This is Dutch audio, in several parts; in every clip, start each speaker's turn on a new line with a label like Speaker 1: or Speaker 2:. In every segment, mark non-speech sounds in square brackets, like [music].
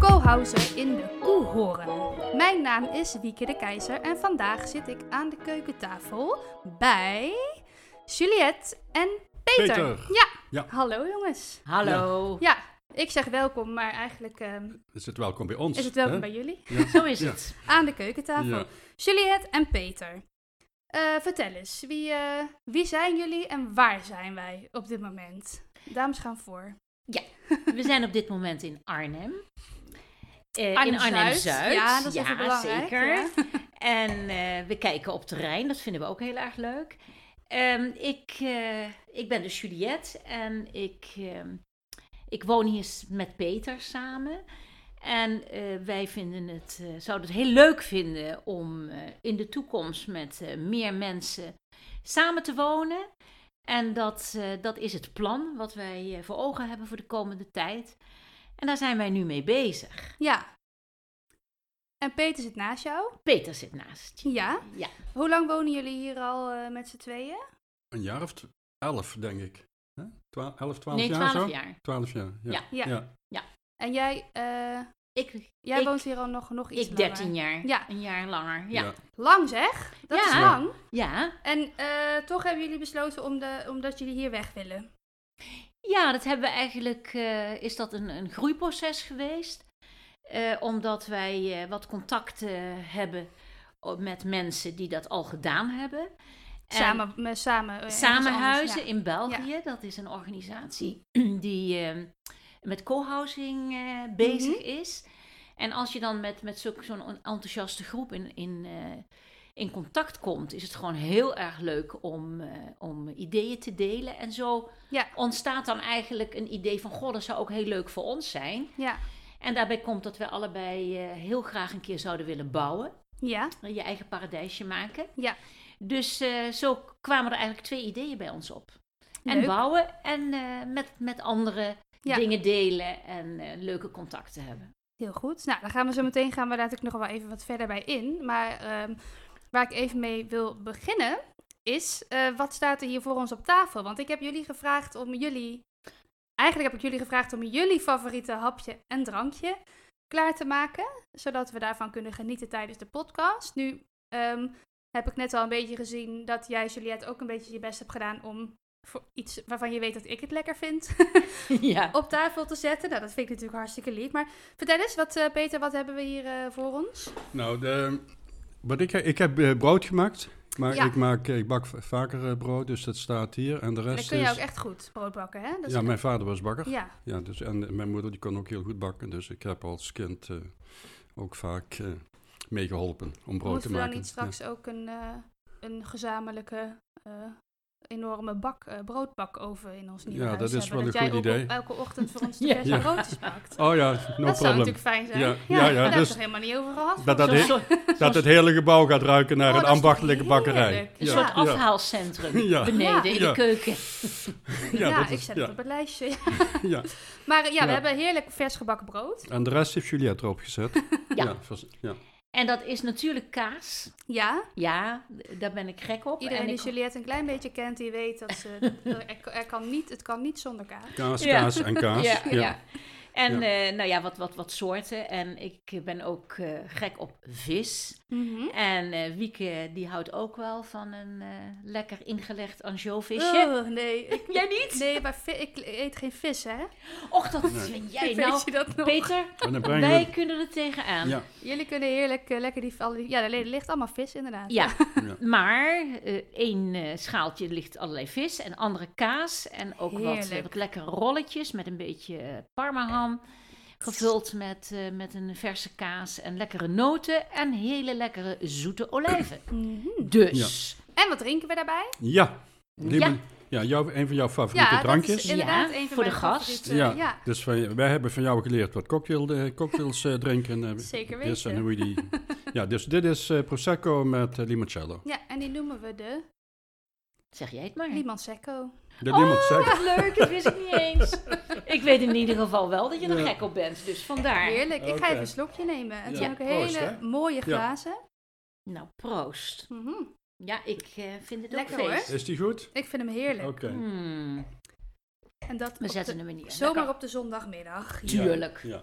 Speaker 1: gozer in de koehoorn. Mijn naam is Wieke de Keizer en vandaag zit ik aan de keukentafel bij Juliette en Peter.
Speaker 2: Peter.
Speaker 1: Ja.
Speaker 2: Ja.
Speaker 1: hallo jongens.
Speaker 3: Hallo.
Speaker 1: Ja, ik zeg welkom, maar eigenlijk ehm,
Speaker 2: Is het welkom bij ons?
Speaker 1: is het welkom
Speaker 2: hè?
Speaker 1: bij jullie.
Speaker 3: Zo is
Speaker 2: Ja.
Speaker 3: het.
Speaker 1: Aan de keukentafel.
Speaker 2: Ja.
Speaker 1: Juliette en Peter. Eh, vertel eens, wie, eh, wie zijn jullie en waar zijn wij op dit moment? Dames gaan voor.
Speaker 3: We zijn op dit moment in Arnhem. Eh, in
Speaker 1: Arnhem-Zuid.
Speaker 3: Arnhem-Zuid.
Speaker 1: Ja, dat is even belangrijk,
Speaker 3: zeker.
Speaker 1: ja.
Speaker 3: En eh, we kijken op terrein. Dat vinden we ook heel erg leuk. Ehm, ik, eh, ik ben dus Juliette en ik, ehm, ik woon hier s- met Peter samen. En eh, wij vinden het, eh, zouden het heel leuk vinden om eh, in de toekomst met eh, meer mensen samen te wonen. En dat, eh, dat is het plan wat wij eh, voor ogen hebben voor de komende tijd. En daar zijn wij nu mee bezig.
Speaker 1: Ja. En Peter zit naast jou.
Speaker 3: Peter zit naast je.
Speaker 1: Ja.
Speaker 3: Ja,
Speaker 1: Hoe lang wonen jullie hier al eh, met z'n tweeën?
Speaker 2: Een jaar of t- elf, denk ik. Hè? Twa- elf, twaalf
Speaker 3: nee,
Speaker 2: jaar zo?
Speaker 3: twaalf jaar.
Speaker 2: Twaalf jaar, ja.
Speaker 3: Ja.
Speaker 1: Ja. En jij, eh,
Speaker 3: Ik,
Speaker 1: jij
Speaker 3: Ik-
Speaker 1: woont hier al nog, nog iets
Speaker 3: ik 13
Speaker 1: langer.
Speaker 3: jaar.
Speaker 1: Ja.
Speaker 3: Een jaar langer. Ja. ja.
Speaker 1: Lang zeg? Dat
Speaker 3: Ja.
Speaker 1: is
Speaker 2: Ja.
Speaker 1: lang.
Speaker 3: ja.
Speaker 1: En eh, toch hebben jullie besloten om de, omdat jullie hier weg willen.
Speaker 3: dat hebben we eigenlijk. eh, is dat een, een groeiproces geweest? Eh, omdat wij eh, wat contacten hebben o- met mensen die dat al gedaan hebben. En-
Speaker 1: Samen, me- samen, eh, ergens anders,
Speaker 3: Samenhuizen
Speaker 1: ja.
Speaker 3: in België, dat is een organisatie [clears throat] die eh, met co-housing eh,
Speaker 1: Mhm.
Speaker 3: bezig is. En als je dan met, met zulk- zo'n on- enthousiaste groep in, in, eh, in contact komt, is het gewoon heel erg leuk om, eh, om ideeën te delen. En zo
Speaker 1: Ja.
Speaker 3: ontstaat dan eigenlijk een idee van, goh, dat zou ook heel leuk voor ons zijn.
Speaker 1: Ja.
Speaker 3: En daarbij komt dat we allebei eh, heel graag een keer zouden willen bouwen
Speaker 1: Ja.
Speaker 3: eh, je eigen paradijsje maken.
Speaker 1: Ja.
Speaker 3: Dus eh, zo kwamen er eigenlijk twee ideeën bij ons op. En
Speaker 1: Leuk.
Speaker 3: bouwen en eh, met, met anderen
Speaker 1: Ja.
Speaker 3: dingen delen en eh, leuke contacten hebben. [laughs]
Speaker 1: Heel goed. Nou, dan gaan we zo meteen gaan we daar natuurlijk nog wel even wat verder bij in. Maar ehm, waar ik even mee wil beginnen is, eh, wat staat er hier voor ons op tafel? Want ik heb jullie gevraagd om jullie, eigenlijk heb ik jullie gevraagd om jullie favoriete hapje en drankje klaar te maken. Zodat we daarvan kunnen genieten tijdens de podcast. Nu ehm, heb ik net al een beetje gezien dat jij, Juliette, ook een beetje je best hebt gedaan om voor iets waarvan je weet dat ik het lekker vind
Speaker 3: ja.
Speaker 1: op tafel te zetten. Nou, dat vind ik natuurlijk hartstikke lief. Maar vertel eens, wat, eh, Peter, wat hebben we hier eh, voor ons?
Speaker 2: Nou, de, wat ik, ik heb eh, brood gemaakt. Maar
Speaker 1: Ja.
Speaker 2: ik, maak, ik bak v- vaker eh, brood, dus dat staat hier. En de
Speaker 1: En
Speaker 2: rest
Speaker 1: dan kun je
Speaker 2: is... dus
Speaker 1: ook echt goed brood bakken, hè? Dat is-
Speaker 2: ja, mijn vader was bakker.
Speaker 1: ja.
Speaker 2: Ja, dus, en eh, mijn moeder die kon ook heel goed bakken. Dus ik heb als kind eh, ook vaak eh, meegeholpen om brood te
Speaker 1: Moeten we dan
Speaker 2: maken.
Speaker 1: niet straks ook een, eh, een gezamenlijke, eh, enorme bak, eh, broodbakoven in ons nieuwe
Speaker 2: Ja,
Speaker 1: huis
Speaker 2: dat is
Speaker 1: hebben?
Speaker 2: wel
Speaker 1: dat
Speaker 2: een
Speaker 1: jij
Speaker 2: goed
Speaker 1: ook
Speaker 2: idee.
Speaker 1: elke ochtend voor
Speaker 2: [laughs]
Speaker 1: ons de
Speaker 3: Ja.
Speaker 1: verse
Speaker 2: Ja.
Speaker 1: broodjes bakt.
Speaker 2: Ja. Oh ja, [laughs] no
Speaker 1: dat zou
Speaker 2: problem.
Speaker 1: natuurlijk fijn zijn.
Speaker 2: Ja,
Speaker 1: Ja,
Speaker 2: ja, ja,
Speaker 1: maar daar
Speaker 2: dus-
Speaker 1: is toch helemaal niet over gehad?
Speaker 2: [laughs] Dat- dat
Speaker 1: volgens
Speaker 2: is-
Speaker 1: mij?
Speaker 3: Zo'n
Speaker 2: Dat het hele gebouw gaat ruiken naar
Speaker 1: Oh,
Speaker 2: een
Speaker 1: dat is toch
Speaker 2: ambachtelijke bakkerij.
Speaker 1: heerlijk?
Speaker 3: een
Speaker 1: Ja.
Speaker 3: soort
Speaker 1: Ja.
Speaker 2: [laughs]
Speaker 3: afhaalcentrum
Speaker 2: Ja.
Speaker 3: beneden
Speaker 1: Ja.
Speaker 3: in
Speaker 2: Ja.
Speaker 3: de keuken.
Speaker 1: Ja, ik
Speaker 2: dat is-
Speaker 1: zet
Speaker 2: ja.
Speaker 1: het op het lijstje.
Speaker 2: [laughs]
Speaker 1: [laughs]
Speaker 2: Ja.
Speaker 1: Maar eh, ja, we
Speaker 2: Ja.
Speaker 1: hebben heerlijk vers gebakken brood.
Speaker 2: En de rest heeft Juliette erop
Speaker 1: [laughs]
Speaker 2: gezet.
Speaker 3: Ja.
Speaker 2: vers- ja.
Speaker 3: En dat is natuurlijk kaas.
Speaker 1: Ja,
Speaker 3: Ja, d- daar ben ik gek op.
Speaker 1: Iedereen
Speaker 3: en
Speaker 1: die
Speaker 3: ik-
Speaker 1: Juliette een klein beetje kent, die weet dat
Speaker 3: [laughs]
Speaker 1: ze... er, er kan niet, het kan niet zonder kaas.
Speaker 2: Kaas,
Speaker 3: Ja.
Speaker 2: kaas en kaas.
Speaker 3: Ja, ja. En
Speaker 2: Ja.
Speaker 3: eh, nou ja, wat, wat, wat soorten. En ik ben ook eh, gek op vis. En eh, Wieke, die houdt ook wel van een eh, lekker ingelegd anjovisje.
Speaker 1: Oh, nee, ik,
Speaker 3: Jij niet?
Speaker 1: nee, maar vi- ik eet geen vis, hè?
Speaker 3: Och, dat vind jij nou.
Speaker 1: Oh. [laughs] Weet je dat nog?
Speaker 3: Peter,
Speaker 2: En dan brengen
Speaker 3: wij
Speaker 2: we...
Speaker 3: kunnen er tegenaan.
Speaker 2: Ja,
Speaker 1: Jullie kunnen heerlijk eh, lekker die... al die- Ja, er ligt allemaal vis, inderdaad.
Speaker 3: Ja,
Speaker 2: ja.
Speaker 3: maar eh, één eh, schaaltje ligt allerlei vis en andere kaas. En ook wat,
Speaker 1: Heerlijk.
Speaker 3: eh, wat lekkere rolletjes met een beetje eh, parmaham. Gevuld met, eh, met een verse kaas en lekkere noten en hele lekkere zoete olijven.
Speaker 1: Mhm.
Speaker 3: Dus,
Speaker 1: En wat drinken we daarbij?
Speaker 2: Ja. Die
Speaker 3: Ja.
Speaker 2: ben- ja, jouw, een van jouw favoriete
Speaker 1: ja,
Speaker 2: drankjes.
Speaker 1: dat is inderdaad
Speaker 3: Ja,
Speaker 1: een van
Speaker 3: voor de
Speaker 1: mijn
Speaker 3: gast.
Speaker 1: favorieten.
Speaker 2: Ja,
Speaker 1: ja.
Speaker 2: dus van- wij hebben van jou geleerd wat cocktail, eh, cocktails eh, drinken. eh,
Speaker 1: Zeker
Speaker 2: is
Speaker 1: weten.
Speaker 2: En hoe je die...
Speaker 1: [laughs]
Speaker 2: Ja, dus dit is eh, Prosecco met eh, limoncello.
Speaker 1: Ja, en die noemen we de
Speaker 3: zeg jij het maar.
Speaker 1: Liman Secco.
Speaker 2: De
Speaker 3: Oh,
Speaker 2: limoncello.
Speaker 3: wat leuk, dat wist ik niet eens. [laughs] Ik weet in ieder geval wel dat je er
Speaker 2: Ja.
Speaker 3: gek op bent, dus vandaar.
Speaker 1: Heerlijk, ik ga
Speaker 2: Oké.
Speaker 1: even een slokje nemen. Het
Speaker 2: Ja,
Speaker 1: zijn ook
Speaker 2: proost,
Speaker 1: hele
Speaker 2: hè?
Speaker 1: mooie glazen.
Speaker 3: Nou, proost.
Speaker 1: Mhm.
Speaker 3: Ja, ik eh, vind het
Speaker 1: Lekker,
Speaker 3: ook
Speaker 1: hoor.
Speaker 3: feest.
Speaker 2: Is die goed?
Speaker 1: Ik vind hem
Speaker 2: Oké.
Speaker 1: heerlijk.
Speaker 3: Hmm,
Speaker 1: En dat
Speaker 3: we
Speaker 1: op de-
Speaker 3: zetten hem er niet in.
Speaker 1: zomaar
Speaker 3: Lekker.
Speaker 1: op de zondagmiddag.
Speaker 3: Tuurlijk.
Speaker 2: Ja.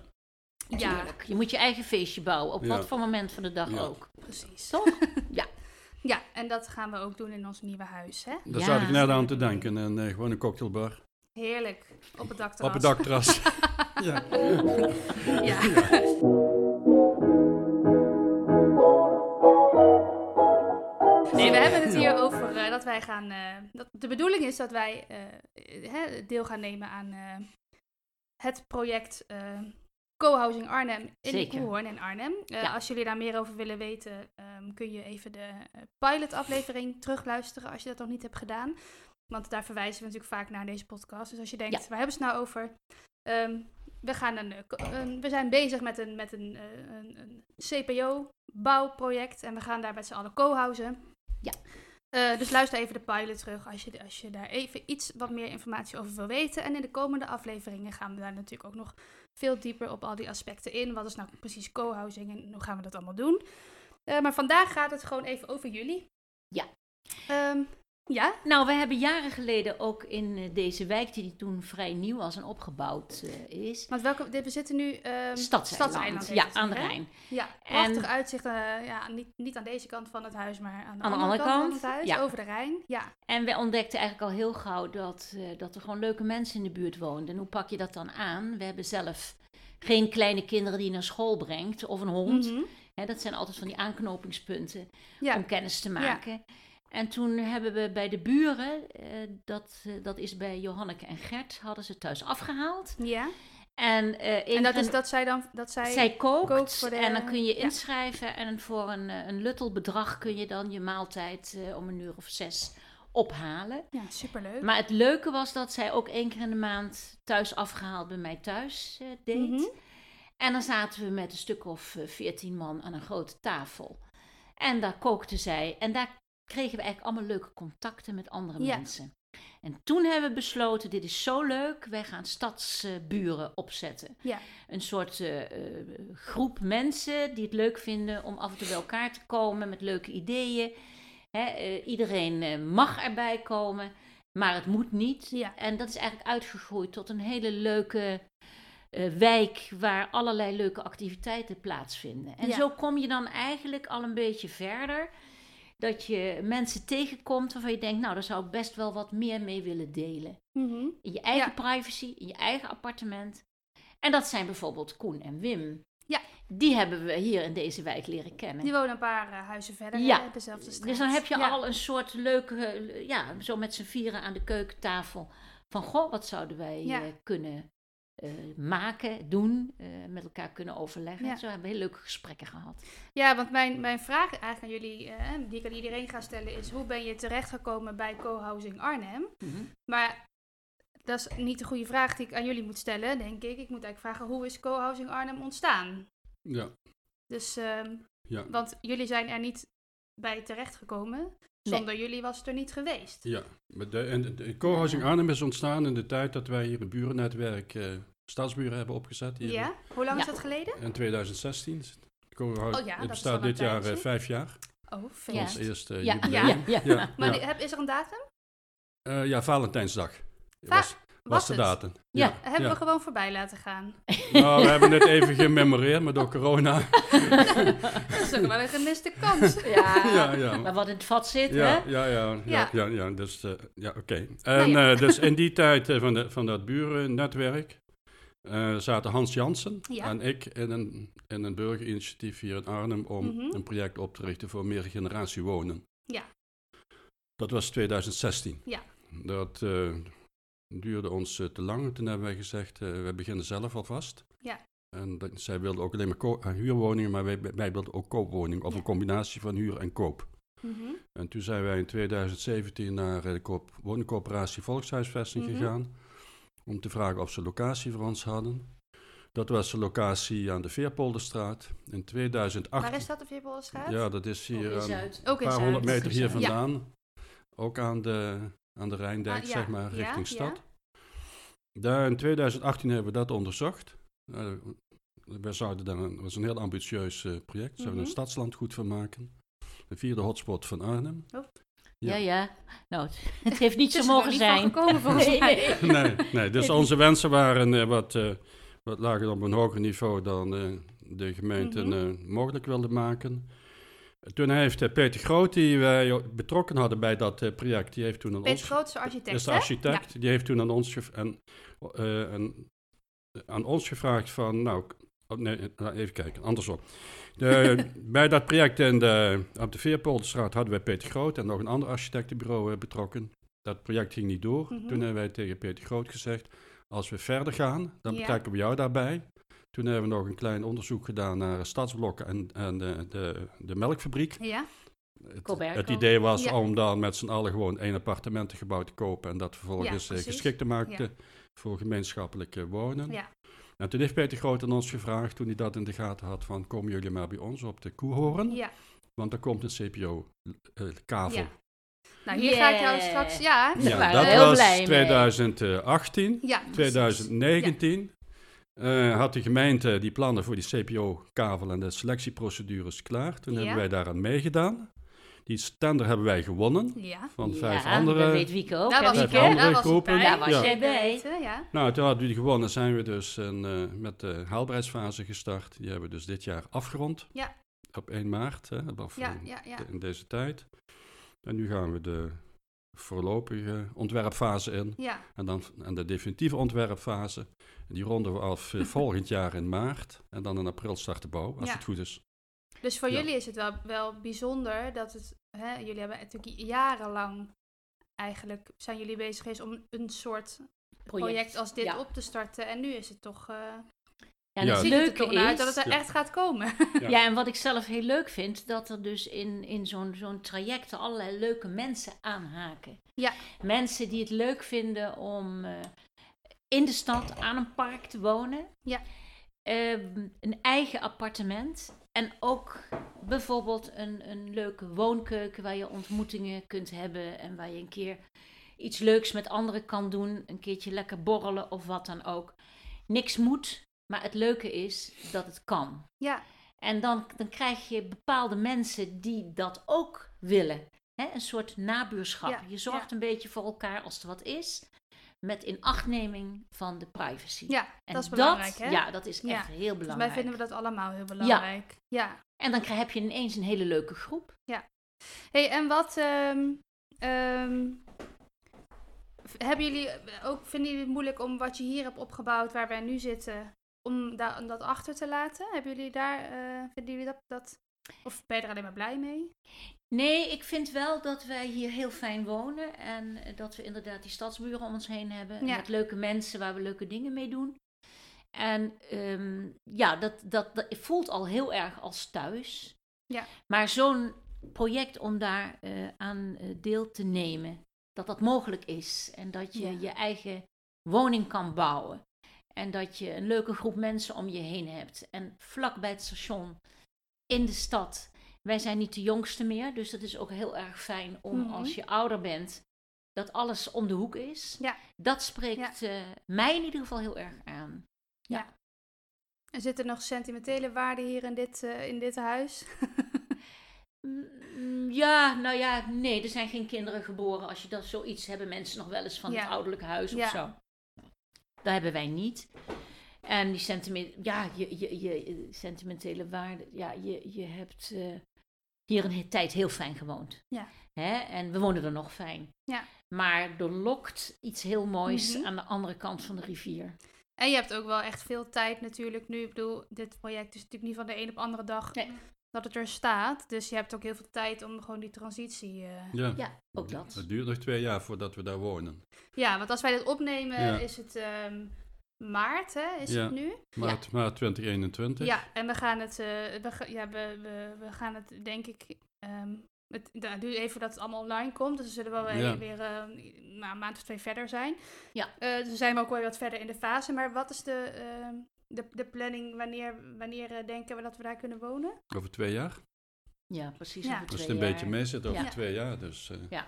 Speaker 1: Ja,
Speaker 3: Tuurlijk. Je moet je eigen feestje bouwen, op
Speaker 2: Ja.
Speaker 3: wat voor moment van de dag
Speaker 2: Ja.
Speaker 3: ook.
Speaker 1: precies.
Speaker 3: Toch? [laughs]
Speaker 1: Ja, en dat gaan we ook doen in ons nieuwe huis, hè?
Speaker 2: Daar
Speaker 3: Ja.
Speaker 2: zat ik net aan te denken. En eh, gewoon een cocktailbar
Speaker 1: Heerlijk. Op het dakterras.
Speaker 2: op het
Speaker 1: [laughs]
Speaker 2: dakterras. ja.
Speaker 1: Ja. Nee, we hebben het hier over eh, dat wij gaan. eh, dat de bedoeling is dat wij eh, hè, deel gaan nemen aan eh, het project eh, Co-housing Arnhem in
Speaker 3: Zeker.
Speaker 1: Koehoorn en Arnhem. Eh,
Speaker 3: Ja.
Speaker 1: Als jullie daar meer over willen weten, ehm, kun je even de eh, pilotaflevering terugluisteren als je dat nog niet hebt gedaan. Want daar verwijzen we natuurlijk vaak naar in deze podcast. Dus als je denkt,
Speaker 3: Ja.
Speaker 1: waar hebben ze het nou over? Ehm, we, gaan een, eh, ko- een- we zijn bezig met een, met een, eh, een, een CPO-bouwproject en we gaan daar met z'n allen co-housen.
Speaker 3: Ja.
Speaker 1: Eh, dus luister even de pilot terug als je, als je daar even iets wat meer informatie over wil weten. En in de komende afleveringen gaan we daar natuurlijk ook nog veel dieper op al die aspecten in. Wat is nou precies co-housing en hoe gaan we dat allemaal doen? Eh, maar vandaag gaat het gewoon even over jullie.
Speaker 3: Ja.
Speaker 1: Ehm, ja,
Speaker 3: Nou, we hebben jaren geleden ook in eh, deze wijk, die toen vrij nieuw was en opgebouwd eh, is,
Speaker 1: want welke, dit- we zitten nu... ehm
Speaker 3: Stadseiland.
Speaker 1: heet
Speaker 3: ja,
Speaker 1: het,
Speaker 3: aan de
Speaker 1: hè?
Speaker 3: Rijn.
Speaker 1: Ja,
Speaker 3: En-
Speaker 1: prachtig uitzicht. eh, ja, niet, niet aan deze kant van het huis, maar aan de, andere, kant, van het huis,
Speaker 3: ja.
Speaker 1: over de Rijn. Ja,
Speaker 3: En we ontdekten eigenlijk al heel gauw dat, eh, dat er gewoon leuke mensen in de buurt woonden. En hoe pak je dat dan aan? We hebben zelf geen kleine kinderen die je naar school brengt of een hond.
Speaker 1: Mhm.
Speaker 3: Hè, dat zijn altijd van die aanknopingspunten
Speaker 1: ja.
Speaker 3: om kennis te maken. En toen hebben we bij de buren, eh, dat, eh, dat is bij Johanneke en Gert, hadden ze thuis afgehaald.
Speaker 1: ja.
Speaker 3: En, eh,
Speaker 1: En dat
Speaker 3: Ingrid-
Speaker 1: is dat zij dan... Dat zij,
Speaker 3: Zij kookt,
Speaker 1: kookt voor de-
Speaker 3: en dan kun je
Speaker 1: ja.
Speaker 3: inschrijven. En voor een, eh, een luttel bedrag kun je dan je maaltijd eh, om een uur of zes ophalen.
Speaker 1: Ja, superleuk.
Speaker 3: Maar het leuke was dat zij ook één keer in de maand thuis afgehaald bij mij thuis eh, deed.
Speaker 1: Mhm.
Speaker 3: En dan zaten we met een stuk of eh, veertien man aan een grote tafel. En daar kookte zij. En daar kregen we eigenlijk allemaal leuke contacten met andere
Speaker 1: Ja.
Speaker 3: mensen. En toen hebben we besloten, dit is zo leuk, wij gaan stadsburen opzetten.
Speaker 1: Ja.
Speaker 3: Een soort eh, eh, groep mensen die het leuk vinden om af en toe bij elkaar te komen met leuke ideeën. Hè, eh, iedereen eh, mag erbij komen, maar het moet niet.
Speaker 1: Ja.
Speaker 3: En dat is eigenlijk uitgegroeid tot een hele leuke eh, wijk waar allerlei leuke activiteiten plaatsvinden. En
Speaker 1: Ja.
Speaker 3: zo kom je dan eigenlijk al een beetje verder. Dat je mensen tegenkomt waarvan je denkt, nou, daar zou ik best wel wat meer mee willen delen.
Speaker 1: Mhm.
Speaker 3: In je eigen
Speaker 1: Ja.
Speaker 3: privacy, in je eigen appartement. En dat zijn bijvoorbeeld Koen en Wim.
Speaker 1: Ja.
Speaker 3: Die hebben we hier in deze wijk leren kennen.
Speaker 1: Die wonen een paar eh, huizen verder,
Speaker 3: Ja.
Speaker 1: ja. dezelfde straat.
Speaker 3: Dus dan heb je
Speaker 1: Ja.
Speaker 3: al een soort leuke, eh, ja, zo met z'n vieren aan de keukentafel. Van goh, wat zouden wij
Speaker 1: Ja.
Speaker 3: eh, kunnen eh, maken, doen, eh, met elkaar kunnen overleggen.
Speaker 1: Ja.
Speaker 3: Zo hebben we hele leuke gesprekken gehad.
Speaker 1: Ja, want mijn, mijn vraag eigenlijk aan jullie, eh, die ik aan iedereen ga stellen, is hoe ben je terechtgekomen bij co-housing Arnhem?
Speaker 2: Mhm.
Speaker 1: Maar dat is niet de goede vraag die ik aan jullie moet stellen, denk ik. Ik moet eigenlijk vragen, hoe is co-housing Arnhem ontstaan?
Speaker 2: ja.
Speaker 1: Dus, ehm,
Speaker 2: Ja.
Speaker 1: want jullie zijn er niet bij terechtgekomen. Zonder jullie was het er niet geweest.
Speaker 2: Ja, maar de, en de- de co-housing Arnhem is ontstaan in de tijd dat wij hier een burennetwerk eh stadsburen hebben opgezet. Hier
Speaker 1: Ja? Hoe lang is
Speaker 3: Ja.
Speaker 1: dat geleden?
Speaker 2: In 2016. Co-housing-
Speaker 1: Oh ja, dat
Speaker 2: het
Speaker 1: is
Speaker 2: bestaat
Speaker 1: al een
Speaker 2: dit jaar eh,
Speaker 1: tijdje.
Speaker 2: vijf jaar.
Speaker 1: Oh, veel.
Speaker 3: Ja.
Speaker 2: Ons eerste
Speaker 3: Ja.
Speaker 2: jubileum.
Speaker 3: Ja. Ja.
Speaker 2: Ja,
Speaker 1: Maar
Speaker 2: ja.
Speaker 1: die- heb, is er een datum?
Speaker 2: Eh, ja, Valentijnsdag
Speaker 1: Va-
Speaker 2: was, was de
Speaker 1: het?
Speaker 2: datum.
Speaker 3: Ja,
Speaker 1: Hebben we gewoon voorbij laten gaan.
Speaker 2: Nou, we hebben het even gememoreerd, maar door corona.
Speaker 1: Dat is toch wel een [laughs] gemiste kans.
Speaker 3: Ja.
Speaker 1: Ah.
Speaker 2: [laughs] Ja, ja.
Speaker 3: Maar wat in het vat zit,
Speaker 2: Ja,
Speaker 3: hè?
Speaker 2: ja, ja,
Speaker 1: Ja.
Speaker 2: ja, ja, ja, dus, eh, ja
Speaker 1: [laughs]
Speaker 2: oké.
Speaker 1: Nou
Speaker 2: En
Speaker 1: ja.
Speaker 2: eh, dus in
Speaker 1: [laughs]
Speaker 2: die tijd eh, van, de, van dat burennetwerk eh, zaten Hans Jansen
Speaker 1: Ja.
Speaker 2: en ik in een, in een burgerinitiatief hier in Arnhem om
Speaker 1: Mhm.
Speaker 2: een project op te richten voor meer generatie wonen.
Speaker 1: Ja.
Speaker 2: Dat was 2016.
Speaker 1: Ja.
Speaker 2: Dat eh, duurde ons eh, te lang. Toen hebben wij gezegd, eh, we beginnen zelf alvast.
Speaker 1: Ja.
Speaker 2: En dat, zij wilden ook alleen maar ko- eh, huurwoningen, maar wij, wij wilden ook koopwoningen. Of
Speaker 1: Ja.
Speaker 2: een combinatie van huur en koop.
Speaker 1: Mhm.
Speaker 2: En toen zijn wij in 2017 naar eh, de koop- woningcorporatie Volkshuisvesting
Speaker 1: Mhm.
Speaker 2: gegaan. Om te vragen of ze locatie voor ons hadden. Dat was de locatie aan de Veerpolderstraat. In 2008.
Speaker 1: Waar is dat op Jebbelenstraat?
Speaker 2: Ja, dat is
Speaker 1: Oh,
Speaker 2: hier ehm, aan een
Speaker 3: Zuid.
Speaker 1: Ook in
Speaker 2: paar
Speaker 1: Zuid.
Speaker 2: honderd meter hier
Speaker 3: Ja.
Speaker 2: vandaan. Ook aan de, aan de Rijndijk,
Speaker 1: Ah, ja.
Speaker 2: zeg maar,
Speaker 1: Ja,
Speaker 2: richting
Speaker 1: ja.
Speaker 2: stad. Daar in 2018 hebben we dat onderzocht. Eh, we zouden daar een, was een heel ambitieus eh, project. Zouden
Speaker 1: Mhm.
Speaker 2: een stadslandgoed van maken. De vierde hotspot van Arnhem.
Speaker 3: Ja,
Speaker 2: Ja.
Speaker 3: ja. Nou, het- het heeft niet
Speaker 1: Het is
Speaker 3: zo
Speaker 1: er nog
Speaker 3: mogen
Speaker 1: niet
Speaker 3: [laughs] zijn.
Speaker 1: van gekomen volgens [laughs]
Speaker 3: Nee,
Speaker 1: mij.
Speaker 2: nee,
Speaker 3: nee.
Speaker 2: nee, dus onze wensen waren eh, wat, eh, wat lager op een hoger niveau dan eh, de gemeente
Speaker 1: Mhm.
Speaker 2: eh, mogelijk wilde maken. Toen heeft eh, Peter Groot, die wij o- betrokken hadden bij dat eh, project, die heeft toen aan
Speaker 1: Peter
Speaker 2: ons...
Speaker 1: Groot is de
Speaker 2: dat
Speaker 1: architect,
Speaker 2: is Dus de
Speaker 1: hè?
Speaker 2: architect, die heeft toen aan ons, gev- en, eh, en- aan ons gevraagd van, nou, k- oh, nee, eh, nou, even kijken, andersom.
Speaker 1: [laughs]
Speaker 2: De, bij dat project in de, op de Veerpolderstraat hadden wij Peter Groot en nog een ander architectenbureau eh, betrokken. Dat project ging niet door.
Speaker 1: Mhm.
Speaker 2: Toen hebben wij tegen Peter Groot gezegd, als we verder gaan, dan
Speaker 1: Ja.
Speaker 2: betrekken we jou daarbij. Toen hebben we nog een klein onderzoek gedaan naar stadsblokken en, en de, de, de melkfabriek.
Speaker 1: Ja. ja.
Speaker 2: Het,
Speaker 3: Colbert
Speaker 2: het
Speaker 3: koop.
Speaker 2: idee was
Speaker 1: Ja.
Speaker 2: om dan met z'n allen gewoon één appartementengebouw te kopen en dat vervolgens eh,
Speaker 1: precies.
Speaker 2: geschikt te maken
Speaker 1: Ja.
Speaker 2: te- voor gemeenschappelijk eh, wonen.
Speaker 1: Ja.
Speaker 2: En toen heeft Peter Groot aan ons gevraagd, toen hij dat in de gaten had, van komen jullie maar bij ons op de Koehoorn,
Speaker 1: ja.
Speaker 2: want daar komt een eh, CPO-kavel.
Speaker 1: Ja. Nou, hier ga ik jou
Speaker 3: Yeah.
Speaker 1: straks... Ja.
Speaker 3: Daar waren
Speaker 2: dat
Speaker 3: we heel
Speaker 2: was
Speaker 3: blij mee.
Speaker 2: 2018.
Speaker 1: Ja.
Speaker 2: 2019 eh, had de gemeente die plannen voor die CPO-kavel en de selectieprocedures klaar. Toen
Speaker 1: Ja.
Speaker 2: hebben wij daaraan meegedaan. Die tender hebben wij gewonnen
Speaker 1: Ja.
Speaker 2: van vijf
Speaker 3: ja, Dat
Speaker 2: andere.
Speaker 3: weet Wieke ook.
Speaker 1: Daar
Speaker 3: hè,
Speaker 1: was
Speaker 2: Vijf
Speaker 1: ik,
Speaker 3: Wieke?
Speaker 1: hè?
Speaker 2: andere
Speaker 1: Daar was ik
Speaker 2: groepen.
Speaker 1: bij.
Speaker 3: Daar was
Speaker 2: Ja.
Speaker 3: jij bij.
Speaker 1: Zeker weten, Ja.
Speaker 2: Nou, toen hadden we die gewonnen, zijn we dus een, eh, met de haalbaarheidsfase gestart. Die hebben we dus dit jaar afgerond.
Speaker 1: Ja.
Speaker 2: Op 1 maart, hè, of,
Speaker 1: Ja,
Speaker 2: eh,
Speaker 1: ja, ja.
Speaker 2: in deze tijd. En nu gaan we de voorlopige ontwerpfase in.
Speaker 1: Ja.
Speaker 2: En dan en de definitieve ontwerpfase. En die ronden we af eh, volgend jaar in maart. En dan in april start de bouw, als
Speaker 1: Ja.
Speaker 2: het goed is.
Speaker 1: Dus voor
Speaker 2: Ja.
Speaker 1: jullie is het wel, wel bijzonder dat het... Hè, jullie hebben natuurlijk jarenlang eigenlijk... Zijn jullie bezig geweest om een soort project, als dit
Speaker 3: ja.
Speaker 1: op te starten. En nu is het toch... eh
Speaker 3: Ja, en
Speaker 2: Ja.
Speaker 3: het
Speaker 1: ziet het er
Speaker 3: leuke
Speaker 1: toch naar uit dat
Speaker 3: is...
Speaker 1: het er
Speaker 2: Ja.
Speaker 1: echt gaat komen. [laughs]
Speaker 2: Ja.
Speaker 3: Ja, en wat ik zelf heel leuk vind, dat er dus in, in zo'n zo'n traject allerlei leuke mensen aanhaken.
Speaker 1: Ja.
Speaker 3: Mensen die het leuk vinden om eh, in de stad aan een park te wonen.
Speaker 1: Ja.
Speaker 3: Ehm, een eigen appartement. En ook bijvoorbeeld een, een leuke woonkeuken waar je ontmoetingen kunt hebben en waar je een keer iets leuks met anderen kan doen. Een keertje lekker borrelen of wat dan ook. Niks moet, maar het leuke is dat het kan.
Speaker 1: Ja,
Speaker 3: En dan, dan krijg je bepaalde mensen die dat ook willen. Hè? Een soort nabuurschap.
Speaker 1: Ja,
Speaker 3: je zorgt
Speaker 1: ja.
Speaker 3: een beetje voor elkaar als er wat is. Met inachtneming van de privacy.
Speaker 1: ja
Speaker 3: en
Speaker 1: dat is belangrijk, hè?
Speaker 3: Ja, dat is
Speaker 1: Ja.
Speaker 3: echt heel
Speaker 1: Volgens
Speaker 3: belangrijk.
Speaker 1: mij vinden we dat allemaal heel belangrijk. Ja.
Speaker 3: En dan krijg- heb je ineens een hele leuke groep.
Speaker 1: hey, en wat... ehm, ehm, v- hebben jullie eh, ook... Vinden jullie het moeilijk om wat je hier hebt opgebouwd, waar wij nu zitten... Om, daar, om dat achter te laten? Hebben jullie daar... eh, vinden jullie dat, dat... Of ben je er alleen maar blij mee?
Speaker 3: Nee, ik vind wel dat wij hier heel fijn wonen. En eh, dat we inderdaad die stadsburen om ons heen hebben.
Speaker 1: Ja.
Speaker 3: Met leuke mensen waar we leuke dingen mee doen. En ehm, ja, dat, dat, dat voelt al heel erg als thuis.
Speaker 1: Ja.
Speaker 3: Maar zo'n project om daar eh, aan eh, deel te nemen, dat dat mogelijk is. En dat je
Speaker 1: Ja.
Speaker 3: je eigen woning kan bouwen. En dat je een leuke groep mensen om je heen hebt. En vlak bij het station, in de stad. Wij zijn niet de jongste meer, dus dat is ook heel erg fijn om
Speaker 1: Mhm.
Speaker 3: als je ouder bent, dat alles om de hoek is.
Speaker 1: Ja.
Speaker 3: Dat spreekt eh, mij in ieder geval heel erg aan.
Speaker 1: En zitten nog sentimentele waarden hier in dit, eh, in dit huis? [laughs]
Speaker 3: Mm, Ja, nou ja, nee, er zijn geen kinderen geboren. Als je dat zoiets hebben mensen nog wel eens van
Speaker 1: Ja.
Speaker 3: het ouderlijk huis
Speaker 1: Ja.
Speaker 3: of zo. Dat hebben wij niet. En die sentiment, ja, je, je, je sentimentele waarde, ja, je, je hebt eh, hier een he- tijd heel fijn gewoond.
Speaker 1: Ja.
Speaker 3: Hè? En we wonen er nog fijn.
Speaker 1: Ja.
Speaker 3: Maar er lokt iets heel moois
Speaker 1: Mhm.
Speaker 3: aan de andere kant van de rivier.
Speaker 1: En je hebt ook wel echt veel tijd natuurlijk nu. Ik bedoel, dit project is natuurlijk niet van de een op de andere dag
Speaker 3: Nee.
Speaker 1: dat het er staat. Dus je hebt ook heel veel tijd om gewoon die transitie... eh,
Speaker 2: Ja.
Speaker 3: Ja, ook dat.
Speaker 2: Het duurt nog twee jaar voordat we daar wonen.
Speaker 1: Ja, want als wij dit opnemen
Speaker 2: Ja.
Speaker 1: is het ehm, maart, hè? Is
Speaker 2: Ja.
Speaker 1: het nu?
Speaker 2: Maart, maart 2021.
Speaker 1: Ja, en we gaan het, eh, we, ga- ja, we, we, we gaan het denk ik... ehm het nou, duurt even dat het allemaal online komt. Dus we zullen wel weer,
Speaker 2: Ja.
Speaker 1: weer eh, nou, een maand of twee verder zijn.
Speaker 3: Ja.
Speaker 1: Eh, dus we zijn ook wel wat verder in de fase. Maar wat is de, ehm, de, de planning? Wanneer, wanneer eh, denken we dat we daar kunnen wonen?
Speaker 2: Over twee jaar.
Speaker 3: Ja, precies.
Speaker 1: Ja.
Speaker 3: over
Speaker 2: Als het
Speaker 3: twee
Speaker 2: een
Speaker 3: jaar.
Speaker 2: beetje mee zit, over
Speaker 3: Ja.
Speaker 2: twee jaar. Dus, eh,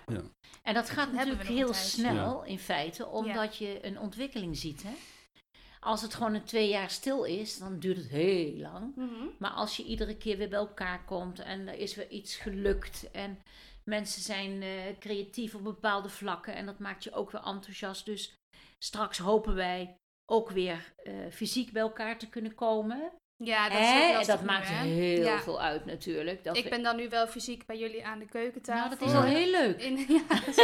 Speaker 3: En dat gaat
Speaker 1: Dan hebben we
Speaker 3: natuurlijk
Speaker 1: nog
Speaker 3: heel
Speaker 1: een tijd.
Speaker 3: snel in feite, omdat je een ontwikkeling ziet. Hè? Als het gewoon een twee jaar stil is, dan duurt het heel lang. Maar als je iedere keer weer bij elkaar komt en er is weer iets gelukt en mensen zijn eh, creatief op bepaalde vlakken en dat maakt je ook weer enthousiast. Dus straks hopen wij ook weer eh, fysiek bij elkaar te kunnen komen.
Speaker 1: Ja, dat
Speaker 3: Dat,
Speaker 1: is ook
Speaker 3: en
Speaker 1: lastig
Speaker 3: dat
Speaker 1: nu,
Speaker 3: maakt
Speaker 1: hè?
Speaker 3: heel
Speaker 1: Ja.
Speaker 3: veel uit natuurlijk. Dat
Speaker 1: Ik
Speaker 3: we-
Speaker 1: ben dan nu wel fysiek bij jullie aan de keukentafel.
Speaker 3: nou, dat is
Speaker 2: Ja.
Speaker 3: al heel leuk.
Speaker 1: In, [laughs] ja, dus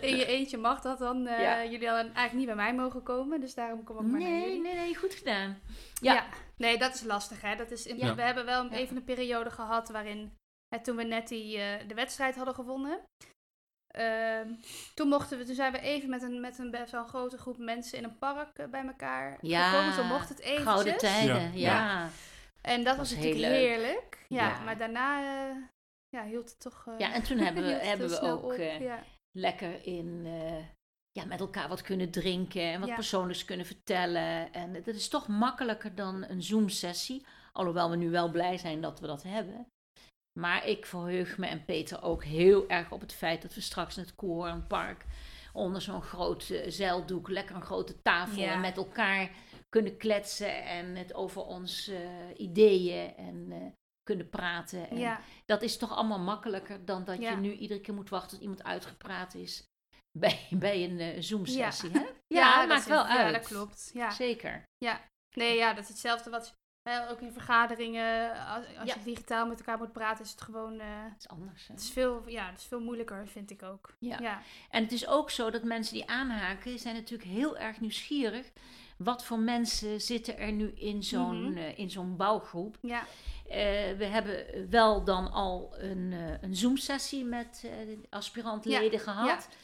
Speaker 1: in je eentje mag dat dan. eh,
Speaker 3: Ja.
Speaker 1: Jullie hadden eigenlijk niet bij mij mogen komen, dus daarom kom ik maar naar
Speaker 3: Nee,
Speaker 1: jullie.
Speaker 3: nee, nee, goed gedaan.
Speaker 1: Ja.
Speaker 3: Ja.
Speaker 1: Nee, dat is lastig, hè. Dat is in-
Speaker 2: Ja.
Speaker 1: We hebben wel een-
Speaker 3: Ja.
Speaker 1: even een periode gehad waarin... Hè, toen we net die, eh, de wedstrijd hadden gewonnen... ehm, toen, mochten we, toen zijn we even met een, met een best wel grote groep mensen in een park eh, bij elkaar
Speaker 3: Ja,
Speaker 1: gekomen. Zo mocht het eventjes.
Speaker 3: Gouden
Speaker 2: Ja.
Speaker 3: tijden, ja.
Speaker 2: Ja.
Speaker 3: Ja.
Speaker 1: En dat was,
Speaker 3: Was
Speaker 1: natuurlijk
Speaker 3: heel leuk.
Speaker 1: heerlijk. Ja,
Speaker 3: Ja.
Speaker 1: maar daarna eh, ja, hield het toch... eh,
Speaker 3: en
Speaker 1: [laughs]
Speaker 3: toen hebben we,
Speaker 1: hield het
Speaker 3: hebben
Speaker 1: heel
Speaker 3: we
Speaker 1: snel
Speaker 3: ook
Speaker 1: op,
Speaker 3: eh,
Speaker 1: ja.
Speaker 3: lekker in, eh, ja, met elkaar wat kunnen drinken en wat
Speaker 1: Ja.
Speaker 3: persoonlijks kunnen vertellen. En dat is toch makkelijker dan een Zoom-sessie. Alhoewel we nu wel blij zijn dat we dat hebben. Maar ik verheug me en Peter ook heel erg op het feit dat we straks in het Koornpark onder zo'n groot eh, zeildoek lekker een grote tafel
Speaker 1: Ja.
Speaker 3: en met elkaar kunnen kletsen en het over ons eh, ideeën en eh, kunnen praten. En
Speaker 1: ja.
Speaker 3: dat is toch allemaal makkelijker dan dat
Speaker 1: Ja.
Speaker 3: je nu iedere keer moet wachten tot iemand uitgepraat is [laughs] bij, bij een eh, Zoom-sessie.
Speaker 1: [laughs]
Speaker 3: hè? Ja,
Speaker 1: dat
Speaker 3: maakt
Speaker 1: is-
Speaker 3: wel uit.
Speaker 1: Ja, dat klopt. Ja.
Speaker 3: Zeker.
Speaker 1: Nee, ja, dat is hetzelfde wat hè, ook in vergaderingen. Als, als
Speaker 3: Ja.
Speaker 1: je digitaal met elkaar moet praten, is het gewoon. eh,
Speaker 3: Dat is anders. Hè?
Speaker 1: het, is veel, ja, het is veel moeilijker, vind ik ook.
Speaker 3: Ja.
Speaker 1: ja.
Speaker 3: En het is ook zo dat mensen die aanhaken, zijn natuurlijk heel erg nieuwsgierig. Wat voor mensen zitten er nu in zo'n
Speaker 1: Mhm.
Speaker 3: eh, in zo'n bouwgroep?
Speaker 1: Ja.
Speaker 3: Eh, we hebben wel dan al een, eh, een Zoom-sessie met eh, aspirantleden gehad.
Speaker 1: ja.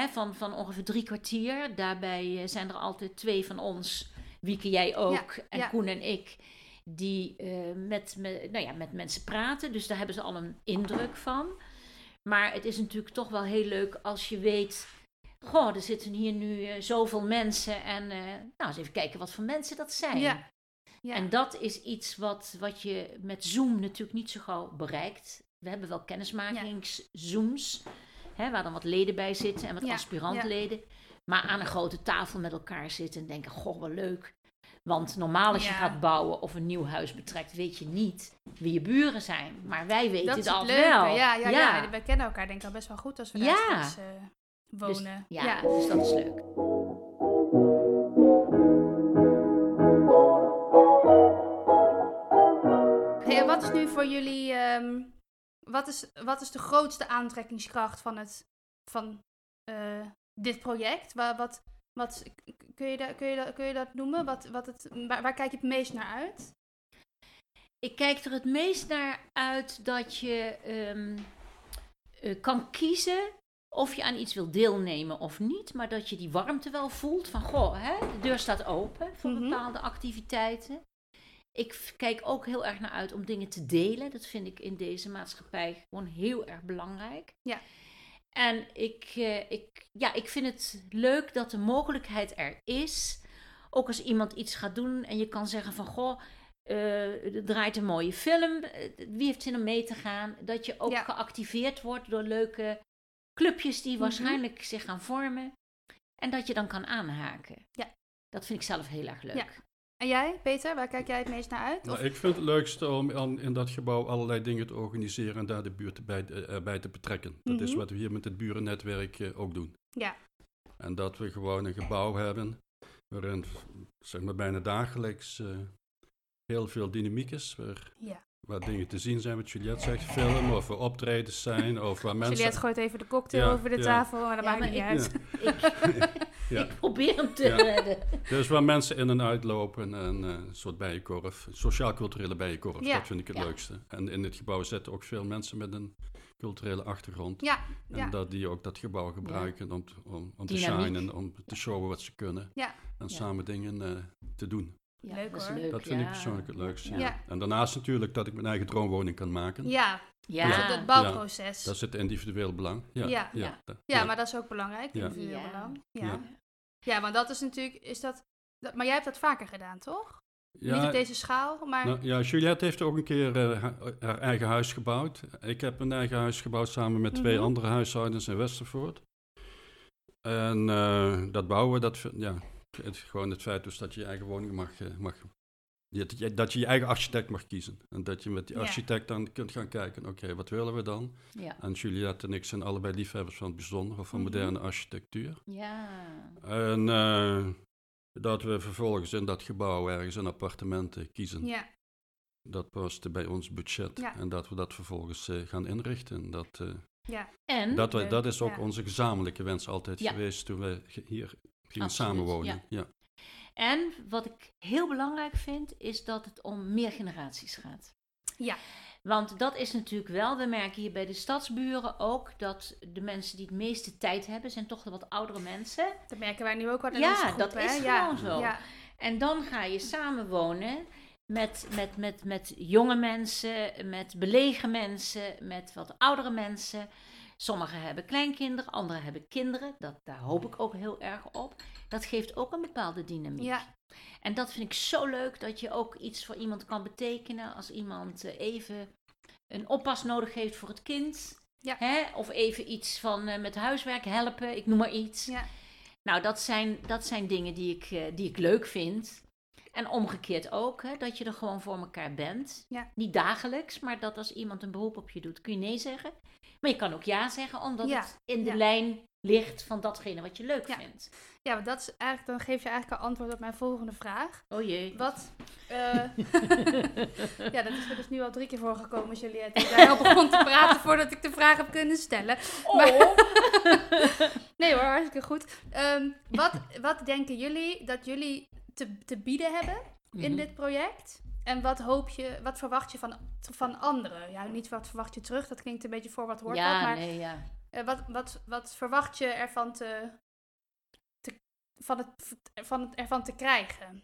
Speaker 3: Hè, van, van ongeveer drie kwartier. Daarbij eh, zijn er altijd twee van ons, Wieke, jij ook, en
Speaker 1: ja.
Speaker 3: Koen en ik, die eh, met, me, nou ja, met mensen praten. Dus daar hebben ze al een indruk van. Maar het is natuurlijk toch wel heel leuk als je weet. Goh, er zitten hier nu eh, zoveel mensen. En eh, nou, eens even kijken wat voor mensen dat zijn.
Speaker 1: Ja. Ja.
Speaker 3: En dat is iets wat, wat je met Zoom natuurlijk niet zo gauw bereikt. We hebben wel kennismakings-Zooms, hè, waar dan wat leden bij zitten en wat
Speaker 1: Ja,
Speaker 3: aspirantleden. Maar aan een grote tafel met elkaar zitten en denken, goh, wat leuk. Want normaal als je
Speaker 1: Ja.
Speaker 3: gaat bouwen of een nieuw huis betrekt, weet je niet wie je buren zijn. Maar wij weten
Speaker 1: dat
Speaker 3: het
Speaker 1: is het
Speaker 3: al
Speaker 1: leuke.
Speaker 3: wel.
Speaker 1: Ja, ja, ja.
Speaker 3: Ja.
Speaker 1: we kennen elkaar denk ik al best wel goed als we
Speaker 3: Ja.
Speaker 1: daar straks, eh,
Speaker 3: Dus-
Speaker 1: wonen.
Speaker 3: ja, dus dat is leuk.
Speaker 1: Hey, en wat is nu voor jullie. ehm, wat, is, wat is de grootste aantrekkingskracht van, het, van eh, dit project? Wat, wat, wat, kun, je dat, kun, je dat, kun je dat noemen? Wat, wat het, waar, waar kijk je het meest naar uit?
Speaker 3: Ik kijk er het meest naar uit dat je ehm, eh, kan kiezen of je aan iets wil deelnemen of niet. Maar dat je die warmte wel voelt van, goh, hè, de deur staat open voor
Speaker 1: Mhm.
Speaker 3: bepaalde activiteiten. Ik f- kijk ook heel erg naar uit om dingen te delen. Dat vind ik in deze maatschappij gewoon heel erg belangrijk.
Speaker 1: Ja.
Speaker 3: En ik, eh, ik, ja, ik vind het leuk dat de mogelijkheid er is. Ook als iemand iets gaat doen en je kan zeggen van... Goh, eh, er draait een mooie film. eh, Wie heeft zin om mee te gaan? Dat je ook
Speaker 1: Ja. Mhm.
Speaker 3: geactiveerd wordt door leuke clubjes die waarschijnlijk zich gaan vormen. En dat je dan kan aanhaken.
Speaker 1: Ja.
Speaker 3: Dat vind ik zelf heel erg leuk.
Speaker 1: Ja. En jij, Peter, waar kijk jij het meest naar uit?
Speaker 2: Nou,
Speaker 1: Of-
Speaker 2: ik vind het leukste om aan- in dat gebouw allerlei dingen te organiseren en daar de buurt bij, eh, bij te betrekken. Dat is
Speaker 1: Mhm.
Speaker 2: wat we hier met het burennetwerk eh, ook doen.
Speaker 1: Ja.
Speaker 2: En dat we gewoon een gebouw hebben waarin zeg maar, bijna dagelijks eh, heel veel dynamiek is. Waar,
Speaker 1: Ja.
Speaker 2: waar dingen te zien zijn, wat Juliette zegt, film of waar optredens zijn of waar mensen...
Speaker 1: Juliette gooit even de cocktail
Speaker 2: Ja,
Speaker 1: over de
Speaker 2: ja.
Speaker 1: tafel, maar dat
Speaker 3: Ja,
Speaker 1: maakt
Speaker 3: maar
Speaker 1: niet
Speaker 3: ik-
Speaker 1: uit.
Speaker 2: [laughs] Ja.
Speaker 3: [laughs] Ik probeer hem te
Speaker 2: Ja.
Speaker 3: redden.
Speaker 2: Dus waar mensen in en uitlopen en eh, een soort bijenkorf, sociaal-culturele bijenkorf,
Speaker 1: Ja,
Speaker 2: dat vind ik het
Speaker 3: ja.
Speaker 2: leukste. En in het gebouw zitten ook veel mensen met een culturele achtergrond.
Speaker 1: Ja,
Speaker 2: en
Speaker 1: ja.
Speaker 2: dat die ook dat gebouw gebruiken om, t- om, om te
Speaker 3: Dynamiek.
Speaker 2: shinen, om te showen wat ze kunnen.
Speaker 1: Ja.
Speaker 2: En
Speaker 3: Ja.
Speaker 2: samen dingen eh, te doen.
Speaker 3: Ja,
Speaker 1: Leuk,
Speaker 3: dat is
Speaker 1: hoor.
Speaker 3: leuk.
Speaker 2: Dat vind
Speaker 3: ja.
Speaker 2: ik persoonlijk het leukste. Ja.
Speaker 1: Ja.
Speaker 2: En daarnaast natuurlijk dat ik mijn eigen droomwoning kan maken.
Speaker 1: Ja,
Speaker 3: Ja,
Speaker 1: dus dat bouwproces.
Speaker 2: Dat is het individueel belang. Ja,
Speaker 1: Ja.
Speaker 3: Ja.
Speaker 2: da-
Speaker 1: Ja, maar dat is ook belangrijk,
Speaker 2: Ja.
Speaker 1: individueel
Speaker 3: Ja.
Speaker 1: belang.
Speaker 2: Ja.
Speaker 1: Ja. ja, maar dat is natuurlijk... Is dat, dat- maar jij hebt dat vaker gedaan, toch?
Speaker 2: Ja,
Speaker 1: Niet op deze schaal, maar...
Speaker 2: Nou, ja, Juliette heeft ook een keer eh, ha- haar eigen huis gebouwd. Ik heb een eigen huis gebouwd samen met twee
Speaker 1: Mhm.
Speaker 2: andere huishoudens in Westervoort. En eh, dat bouwen, dat, vind- ja, het, gewoon het feit dus dat je je eigen woning mag, eh, mag dat, je, dat je je eigen architect mag kiezen. En dat je met die
Speaker 1: Ja.
Speaker 2: architect dan kunt gaan kijken, oké, wat willen we dan?
Speaker 3: Ja.
Speaker 2: En Juliette en ik zijn allebei liefhebbers van het bijzonder of van
Speaker 1: Mhm.
Speaker 2: moderne architectuur.
Speaker 3: Ja.
Speaker 2: En eh, Dat we vervolgens in dat gebouw ergens een appartement eh, kiezen.
Speaker 1: Ja,
Speaker 2: Dat past bij ons budget.
Speaker 1: Ja.
Speaker 2: En dat we dat vervolgens eh, gaan inrichten. Dat, eh,
Speaker 1: ja.
Speaker 3: En
Speaker 2: dat, we-
Speaker 1: leuk,
Speaker 2: dat is ook
Speaker 1: ja.
Speaker 2: onze gezamenlijke wens altijd
Speaker 3: Hm, Ja.
Speaker 2: geweest toen we ge- hier gingen
Speaker 3: Absoluut,
Speaker 2: samenwonen. Ja.
Speaker 3: En wat ik heel belangrijk vind, is dat het om meer generaties gaat.
Speaker 1: Ja.
Speaker 3: Want dat is natuurlijk wel, we merken hier bij de stadsburen ook, dat de mensen die het meeste tijd hebben, zijn toch de wat oudere mensen.
Speaker 1: Dat merken wij nu ook wel in
Speaker 3: Ja,
Speaker 1: onze groep,
Speaker 3: dat
Speaker 1: hè?
Speaker 3: is gewoon zo.
Speaker 1: Ja,
Speaker 3: En dan ga je samenwonen met, met, met, met jonge mensen, met belegen mensen, met wat oudere mensen. Sommigen hebben kleinkinderen, anderen hebben kinderen. Dat, daar hoop ik ook heel erg op. Dat geeft ook een bepaalde dynamiek.
Speaker 1: ja,
Speaker 3: En dat vind ik zo leuk dat je ook iets voor iemand kan betekenen als iemand eh, even een oppas nodig heeft voor het kind.
Speaker 1: Ja.
Speaker 3: Hè? Of even iets van eh, met huiswerk helpen, ik noem maar iets.
Speaker 1: ja.
Speaker 3: Nou, dat zijn, dat zijn dingen die ik, eh, die ik leuk vind. En omgekeerd ook, hè, dat je er gewoon voor elkaar bent.
Speaker 1: Ja.
Speaker 3: Niet dagelijks, maar dat als iemand een beroep op je doet, kun je nee zeggen. Maar je kan ook ja zeggen, omdat
Speaker 1: Ja,
Speaker 3: het in de
Speaker 1: ja.
Speaker 3: lijn ligt van datgene wat je leuk
Speaker 1: Ja.
Speaker 3: vindt.
Speaker 1: ja want dat is eigenlijk, dan geef je eigenlijk al antwoord op mijn volgende vraag.
Speaker 3: Oh jee.
Speaker 1: Wat?
Speaker 3: [laughs]
Speaker 1: eh, ja, dat is er dus nu al drie keer voor gekomen, Juliette. Ik daar al begon te
Speaker 3: [laughs]
Speaker 1: praten voordat ik de vraag heb kunnen stellen. [laughs]
Speaker 3: Oh.
Speaker 1: Nee hoor, hartstikke goed. Ehm, wat, wat denken jullie dat jullie te, te bieden hebben
Speaker 3: Mhm.
Speaker 1: in dit project? En wat hoop je, wat verwacht je van, van anderen? Ja, niet wat verwacht je terug, dat klinkt een beetje voor wat hoort wat,
Speaker 3: ja,
Speaker 1: maar
Speaker 3: nee, ja.
Speaker 1: eh, wat, wat, wat verwacht je ervan te, te, van het, van het, ervan te krijgen?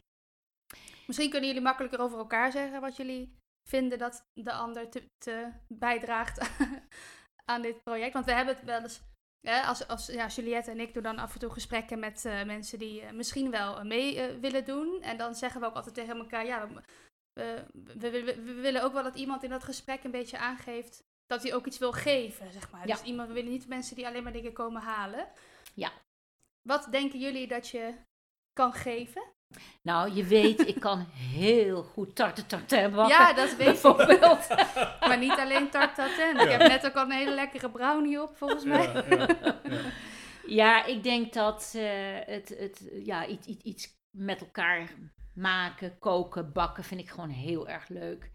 Speaker 1: Misschien kunnen jullie makkelijker over elkaar zeggen wat jullie vinden dat de ander te, te bijdraagt [laughs] aan dit project. Want we hebben het wel eens, hè, als, als ja, Juliette en ik doen dan af en toe gesprekken met eh, mensen die eh, misschien wel eh, mee eh, willen doen. En dan zeggen we ook altijd tegen elkaar, ja, we, we- we, we- we willen ook wel dat iemand in dat gesprek een beetje aangeeft dat hij ook iets wil geven, zeg maar.
Speaker 3: Ja.
Speaker 1: Dus iemand, we willen niet mensen die alleen maar dingen komen halen.
Speaker 3: Ja.
Speaker 1: Wat denken jullie dat je kan geven?
Speaker 3: Nou, je weet, ik
Speaker 1: [laughs]
Speaker 3: kan heel goed tarte tarte bakken.
Speaker 1: Ja, dat weet ik.
Speaker 3: [laughs] bijvoorbeeld.
Speaker 1: [laughs] Maar niet alleen tart tatin. Ik
Speaker 2: Ja.
Speaker 1: heb net ook al een hele lekkere brownie op, volgens mij.
Speaker 2: Ja, ja, ja.
Speaker 3: Ja, ik denk dat eh, het, het ja, iets, iets, iets met elkaar maken, koken, bakken vind ik gewoon heel erg leuk.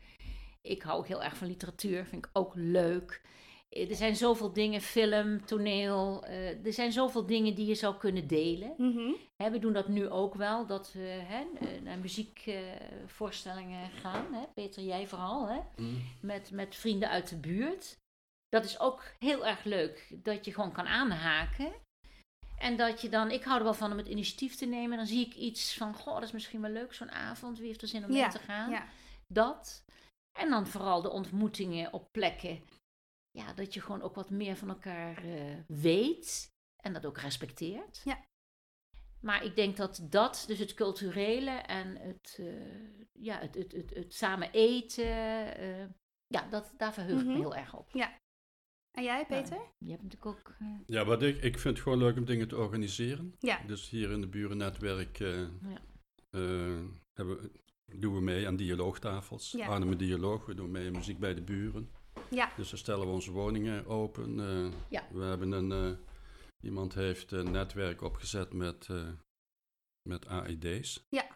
Speaker 3: Ik hou ook heel erg van literatuur, vind ik ook leuk. Eh, Er zijn zoveel dingen, film, toneel. eh, er zijn zoveel dingen die je zou kunnen delen.
Speaker 1: Mhm.
Speaker 3: Hè, we doen dat nu ook wel, dat we hè, eh, naar muziekvoorstellingen gaan. Hè? Peter, jij vooral. Hè?
Speaker 2: Mm.
Speaker 3: met, met vrienden uit de buurt. Dat is ook heel erg leuk, dat je gewoon kan aanhaken. En dat je dan, ik hou er wel van om het initiatief te nemen. Dan zie ik iets van, goh, dat is misschien wel leuk zo'n avond. Wie heeft er zin om mee te gaan?
Speaker 1: ja.
Speaker 3: Dat. En dan vooral de ontmoetingen op plekken. Ja, dat je gewoon ook wat meer van elkaar eh, weet. En dat ook respecteert.
Speaker 1: Ja.
Speaker 3: Maar ik denk dat dat, dus het culturele en het, eh, ja, het, het, het, het samen eten. eh, ja, dat, daar verheug ik
Speaker 1: Mhm.
Speaker 3: me heel erg op.
Speaker 1: En jij, Peter?
Speaker 3: Je hebt natuurlijk ook... eh,
Speaker 2: Ja, wat ik, ik vind het gewoon leuk om dingen te organiseren.
Speaker 1: Ja.
Speaker 2: Dus hier in de burennetwerk eh, eh, hebben, we- doen we mee aan dialoogtafels.
Speaker 1: Ja.
Speaker 2: Arnhem en Dialoog, we doen mee aan muziek bij de buren.
Speaker 1: Ja.
Speaker 2: Dus dan stellen we onze woningen open. eh,
Speaker 3: Ja.
Speaker 2: We hebben een, eh, iemand heeft een netwerk opgezet met, eh, met AED's.
Speaker 1: Heb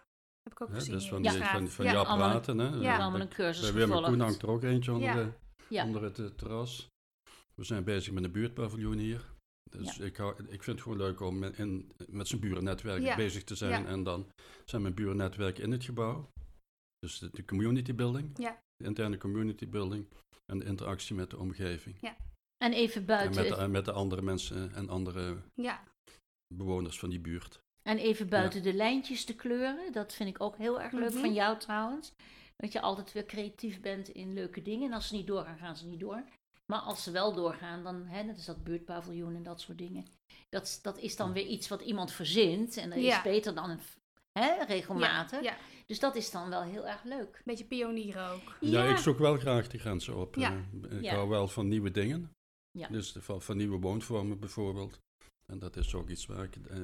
Speaker 1: ik ook
Speaker 2: Hè?
Speaker 1: gezien.
Speaker 2: Dus van,
Speaker 1: ja.
Speaker 2: die, van, van
Speaker 3: Ja,
Speaker 2: die
Speaker 3: allemaal een-
Speaker 2: apparaten. Hè?
Speaker 1: Ja.
Speaker 3: we hebben allemaal een cursus
Speaker 2: Bij Wim en Koen
Speaker 3: gevolgd.
Speaker 2: hangt er ook eentje onder,
Speaker 1: Ja.
Speaker 2: de-
Speaker 3: Ja.
Speaker 2: onder het eh, terras. We zijn bezig met een buurtpaviljoen hier. Dus ik, hou- ik vind het gewoon leuk om in, in- met zijn burennetwerk
Speaker 1: Ja.
Speaker 2: bezig te zijn.
Speaker 1: Ja.
Speaker 2: En dan zijn mijn burennetwerk in het gebouw. Dus de, de community building.
Speaker 1: Ja.
Speaker 2: De interne community building. En de interactie met de omgeving.
Speaker 3: En even
Speaker 2: En
Speaker 3: buiten,
Speaker 2: met de, met de andere mensen en andere
Speaker 1: ja.
Speaker 2: bewoners van die buurt.
Speaker 3: En even buiten de lijntjes de kleuren. Dat vind ik ook heel erg leuk
Speaker 1: Mhm.
Speaker 3: van jou trouwens. Dat je altijd weer creatief bent in leuke dingen. En als ze niet doorgaan, gaan ze niet door. Maar als ze wel doorgaan, dan hè, dat is dat buurtpaviljoen en dat soort dingen. Dat, is- dat is dan weer iets wat iemand verzint. En dat
Speaker 1: Ja.
Speaker 3: is beter dan een, hè,
Speaker 1: Ja,
Speaker 3: regelmatig.
Speaker 1: ja.
Speaker 3: Dus dat is dan wel heel erg leuk.
Speaker 1: beetje pionier ook.
Speaker 2: Ja, ik zoek wel graag die grenzen op.
Speaker 1: Ja.
Speaker 2: Eh, Ik
Speaker 3: Ja.
Speaker 2: hou wel van nieuwe dingen.
Speaker 3: Ja.
Speaker 2: Dus van, van nieuwe woonvormen bijvoorbeeld. En dat is ook iets waar ik eh,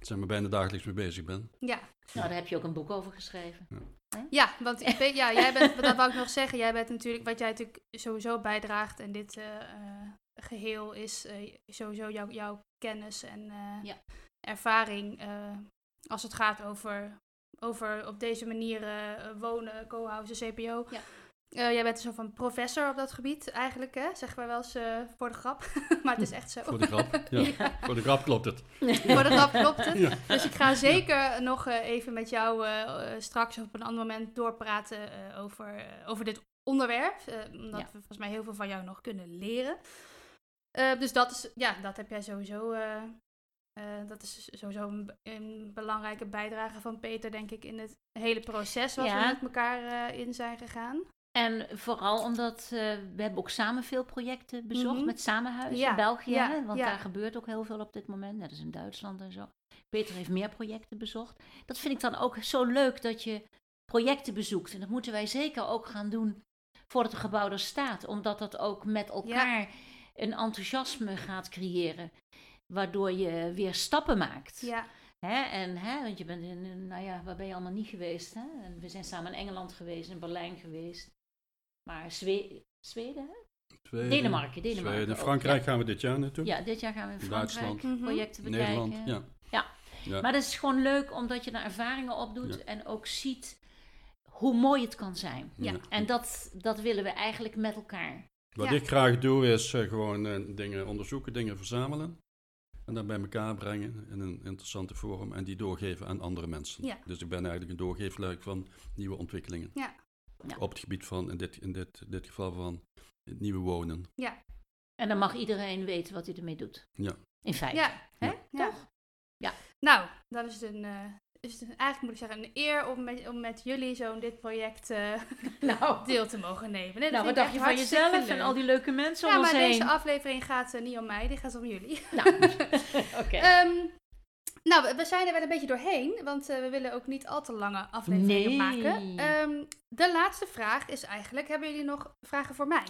Speaker 2: zeg maar, bijna dagelijks mee bezig ben.
Speaker 1: Ja.
Speaker 3: Nou, daar heb je ook een boek over geschreven.
Speaker 1: Ja, want ik weet- ja, jij
Speaker 3: [laughs]
Speaker 1: bent, dat wou ik nog zeggen. Jij bent natuurlijk, wat jij natuurlijk sowieso bijdraagt en dit eh, eh, geheel is eh, sowieso jouw jouw kennis en eh,
Speaker 3: Ja.
Speaker 1: ervaring eh, als het gaat over, over op deze manier eh, wonen, co-housen, CPO.
Speaker 3: Ja.
Speaker 1: Eh, jij bent een soort van professor op dat gebied eigenlijk, hè? zeggen wij wel eens eh, voor de grap. [laughs] maar het is echt zo.
Speaker 2: Voor de
Speaker 3: [laughs]
Speaker 2: grap. Ja.
Speaker 1: [laughs]
Speaker 2: Voor de grap klopt het.
Speaker 1: Voor de grap klopt het.
Speaker 2: Ja.
Speaker 1: Dus ik ga zeker nog eh, even met jou eh, eh, straks op een ander moment doorpraten eh, over, eh, over dit onderwerp. eh, omdat
Speaker 3: Ja.
Speaker 1: we volgens mij heel veel van jou nog kunnen leren. Eh, dus dat is, ja, dat heb jij sowieso. eh, eh, dat is sowieso een, be- een belangrijke bijdrage van Peter, denk ik, in het hele proces wat we
Speaker 3: Ja.
Speaker 1: met elkaar eh, in zijn gegaan.
Speaker 3: En vooral omdat eh, we hebben ook samen veel projecten bezocht
Speaker 1: Mhm.
Speaker 3: met Samenhuis
Speaker 1: Ja,
Speaker 3: in België.
Speaker 1: ja,
Speaker 3: hè, want
Speaker 1: ja.
Speaker 3: daar gebeurt ook heel veel op dit moment, net als in Duitsland en zo. Peter heeft meer projecten bezocht. Dat vind ik dan ook zo leuk dat je projecten bezoekt. En dat moeten wij zeker ook gaan doen voordat het gebouw er staat. Omdat dat ook met elkaar een enthousiasme gaat creëren. Waardoor je weer stappen maakt.
Speaker 1: Ja,
Speaker 3: Hè, en, hè, want je bent in, in- nou ja, waar ben je allemaal niet geweest? Hè? En we zijn samen in Engeland geweest, in Berlijn geweest. Maar Zwe- Zweden? hè?
Speaker 2: Zweden,
Speaker 3: Denemarken, Denemarken.
Speaker 2: Zweden.
Speaker 3: ook,
Speaker 2: Frankrijk gaan we dit jaar naartoe.
Speaker 3: Ja. ja, dit jaar gaan we in Frankrijk
Speaker 2: Duitsland.
Speaker 1: Mhm.
Speaker 3: projecten bekijken.
Speaker 2: Nederland. Ja. Ja.
Speaker 3: Maar dat is gewoon leuk omdat je daar ervaringen opdoet en ook ziet hoe mooi het kan zijn.
Speaker 1: Ja.
Speaker 3: En dat, dat willen we eigenlijk met elkaar.
Speaker 2: Wat
Speaker 1: Ja.
Speaker 2: ik graag doe is eh, gewoon eh, dingen onderzoeken, dingen verzamelen. En dan bij elkaar brengen in een interessante vorm en die doorgeven aan andere mensen.
Speaker 1: Ja.
Speaker 2: Dus ik ben eigenlijk een doorgeefluik van nieuwe ontwikkelingen.
Speaker 1: Ja.
Speaker 3: Ja.
Speaker 2: Op het gebied van, in dit, in dit, dit geval van het nieuwe wonen.
Speaker 3: En dan mag iedereen weten wat hij ermee doet.
Speaker 2: Ja.
Speaker 3: In feite.
Speaker 1: ja, hè?
Speaker 3: Ja.
Speaker 1: Toch?
Speaker 3: Ja.
Speaker 1: Nou, dan is het een. eh, is het een- eigenlijk moet ik zeggen, een eer om met, om met jullie zo'n dit project eh,
Speaker 3: Nou,
Speaker 1: deel te mogen nemen. Nee, dat
Speaker 3: nou, wat
Speaker 1: vind ik
Speaker 3: dacht je
Speaker 1: echt
Speaker 3: van
Speaker 1: hartstikke
Speaker 3: jezelf en
Speaker 1: leuk.
Speaker 3: al die leuke mensen
Speaker 1: Ja,
Speaker 3: om
Speaker 1: maar
Speaker 3: ons heen?
Speaker 1: deze aflevering gaat eh, niet om mij, die gaat om jullie.
Speaker 3: Nou, oké.
Speaker 1: Ehm, nou, we- we zijn er wel een beetje doorheen, want eh, we willen ook niet al te lange afleveringen
Speaker 3: Nee.
Speaker 1: maken. Ehm, de laatste vraag is eigenlijk, hebben jullie nog vragen voor mij?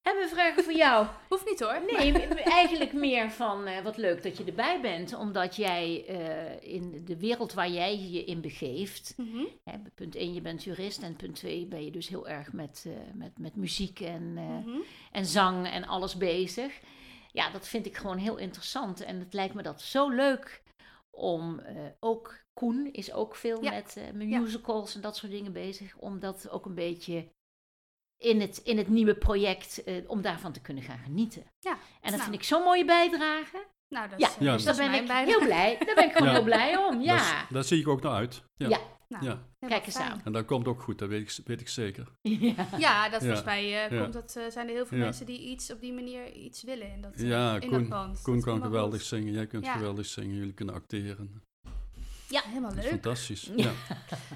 Speaker 3: Hebben we vragen voor jou?
Speaker 1: Hoeft niet hoor.
Speaker 3: Nee, m- m- eigenlijk meer van eh, wat leuk dat je erbij bent. Omdat jij eh, in de wereld waar jij je in begeeft.
Speaker 1: [laughs] Mhm.
Speaker 3: Hè, punt 1, je bent jurist. En punt 2 ben je dus heel erg met, eh, met, met muziek en, eh,
Speaker 1: Mhm.
Speaker 3: en zang en alles bezig. Ja, dat vind ik gewoon heel interessant. En het lijkt me dat zo leuk om eh, ook. Koen is ook veel
Speaker 1: Ja.
Speaker 3: met, eh, met
Speaker 1: Ja.
Speaker 3: musicals en dat soort dingen bezig. Om dat ook een beetje in het, in het nieuwe project, eh, om daarvan te kunnen gaan genieten.
Speaker 1: Ja,
Speaker 3: en dat
Speaker 1: nou.
Speaker 3: vind ik zo'n mooie bijdrage.
Speaker 1: Nou, dat
Speaker 3: Ja,
Speaker 1: is, eh,
Speaker 2: Ja.
Speaker 1: dat
Speaker 2: Dus
Speaker 1: is
Speaker 3: Daar ben
Speaker 1: mijn
Speaker 3: ik
Speaker 1: bijdrage.
Speaker 3: heel blij. Daar ben ik gewoon
Speaker 2: Ja.
Speaker 3: heel blij om. Ja.
Speaker 2: Dat is- Daar zie ik ook naar uit. Ja.
Speaker 3: Ja.
Speaker 1: [laughs] Nou.
Speaker 2: Ja.
Speaker 1: Helemaal
Speaker 3: Kijk eens
Speaker 1: fijn.
Speaker 3: aan.
Speaker 2: En dat komt ook goed, dat weet ik, weet ik zeker.
Speaker 3: ja.
Speaker 1: [laughs] Ja, dat
Speaker 2: Ja.
Speaker 1: volgens mij eh,
Speaker 2: Ja.
Speaker 1: komt dat, eh, zijn er heel veel
Speaker 2: Ja.
Speaker 1: mensen die iets op die manier iets willen in dat, eh,
Speaker 2: Ja,
Speaker 1: in
Speaker 2: Koen-
Speaker 1: dat pand.
Speaker 2: Koen
Speaker 1: Dat
Speaker 2: kan
Speaker 1: komt wel
Speaker 2: geweldig
Speaker 1: goed.
Speaker 2: zingen, jij kunt
Speaker 1: Ja.
Speaker 2: geweldig zingen, jullie kunnen acteren.
Speaker 1: Ja, helemaal
Speaker 2: Dat is
Speaker 1: leuk. [laughs]
Speaker 2: fantastisch.
Speaker 3: Ja.
Speaker 2: Ja.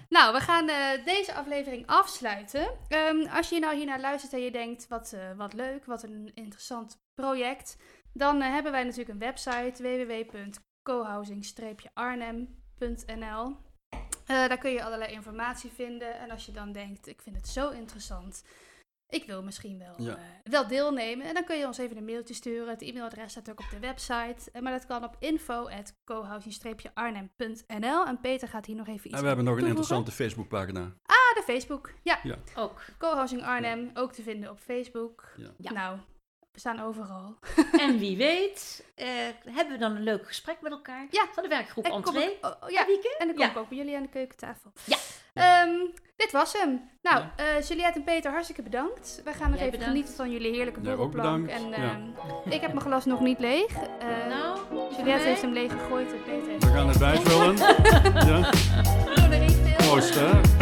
Speaker 1: Nou, we gaan eh, deze aflevering afsluiten. Ehm, als je nou hiernaar luistert en je denkt, wat, eh, wat leuk, wat een interessant project. Dan eh, hebben wij natuurlijk een website, www.cohousing-arnhem.nl. Eh, daar kun je allerlei informatie vinden. En als je dan denkt, ik vind het zo interessant, ik wil misschien wel,
Speaker 2: Ja.
Speaker 1: eh, wel deelnemen. En dan kun je ons even een mailtje sturen. Het e-mailadres staat ook op de website. Eh, maar dat kan op info.cohousing-arnhem.nl. En Peter gaat hier nog even iets
Speaker 2: En we hebben nog een
Speaker 1: toevoegen.
Speaker 2: interessante Facebookpagina.
Speaker 1: Ah, de Facebook. Ja,
Speaker 3: Ook.
Speaker 1: Cohousing Arnhem, ook te vinden op Facebook.
Speaker 2: Ja.
Speaker 3: Ja.
Speaker 1: Nou, we staan overal.
Speaker 3: En wie weet, eh, hebben we dan een leuk gesprek met elkaar
Speaker 1: Ja.
Speaker 3: van de werkgroep
Speaker 1: En kom
Speaker 3: Entree.
Speaker 1: ik- oh, oh, ja,
Speaker 3: Wieke?
Speaker 1: en dan kom
Speaker 3: Ja.
Speaker 1: ik ook bij jullie aan de keukentafel.
Speaker 3: Ja.
Speaker 1: Ehm, dit was hem. Nou,
Speaker 2: Ja.
Speaker 1: eh, Juliette en Peter, hartstikke bedankt. Wij gaan nog
Speaker 3: Jij
Speaker 1: even
Speaker 3: bedankt.
Speaker 1: genieten van jullie heerlijke
Speaker 2: Jij ook
Speaker 1: borrelplank. En
Speaker 2: bedankt.
Speaker 1: ehm, ik heb mijn glas nog niet leeg. Eh,
Speaker 3: Nou,
Speaker 1: Juliette heeft [laughs]
Speaker 3: een...
Speaker 1: hem leeg gegooid en Peter heeft
Speaker 2: We gaan het bijvullen. Ja.
Speaker 1: er één veel.
Speaker 2: Proost, hè?
Speaker 1: [laughs]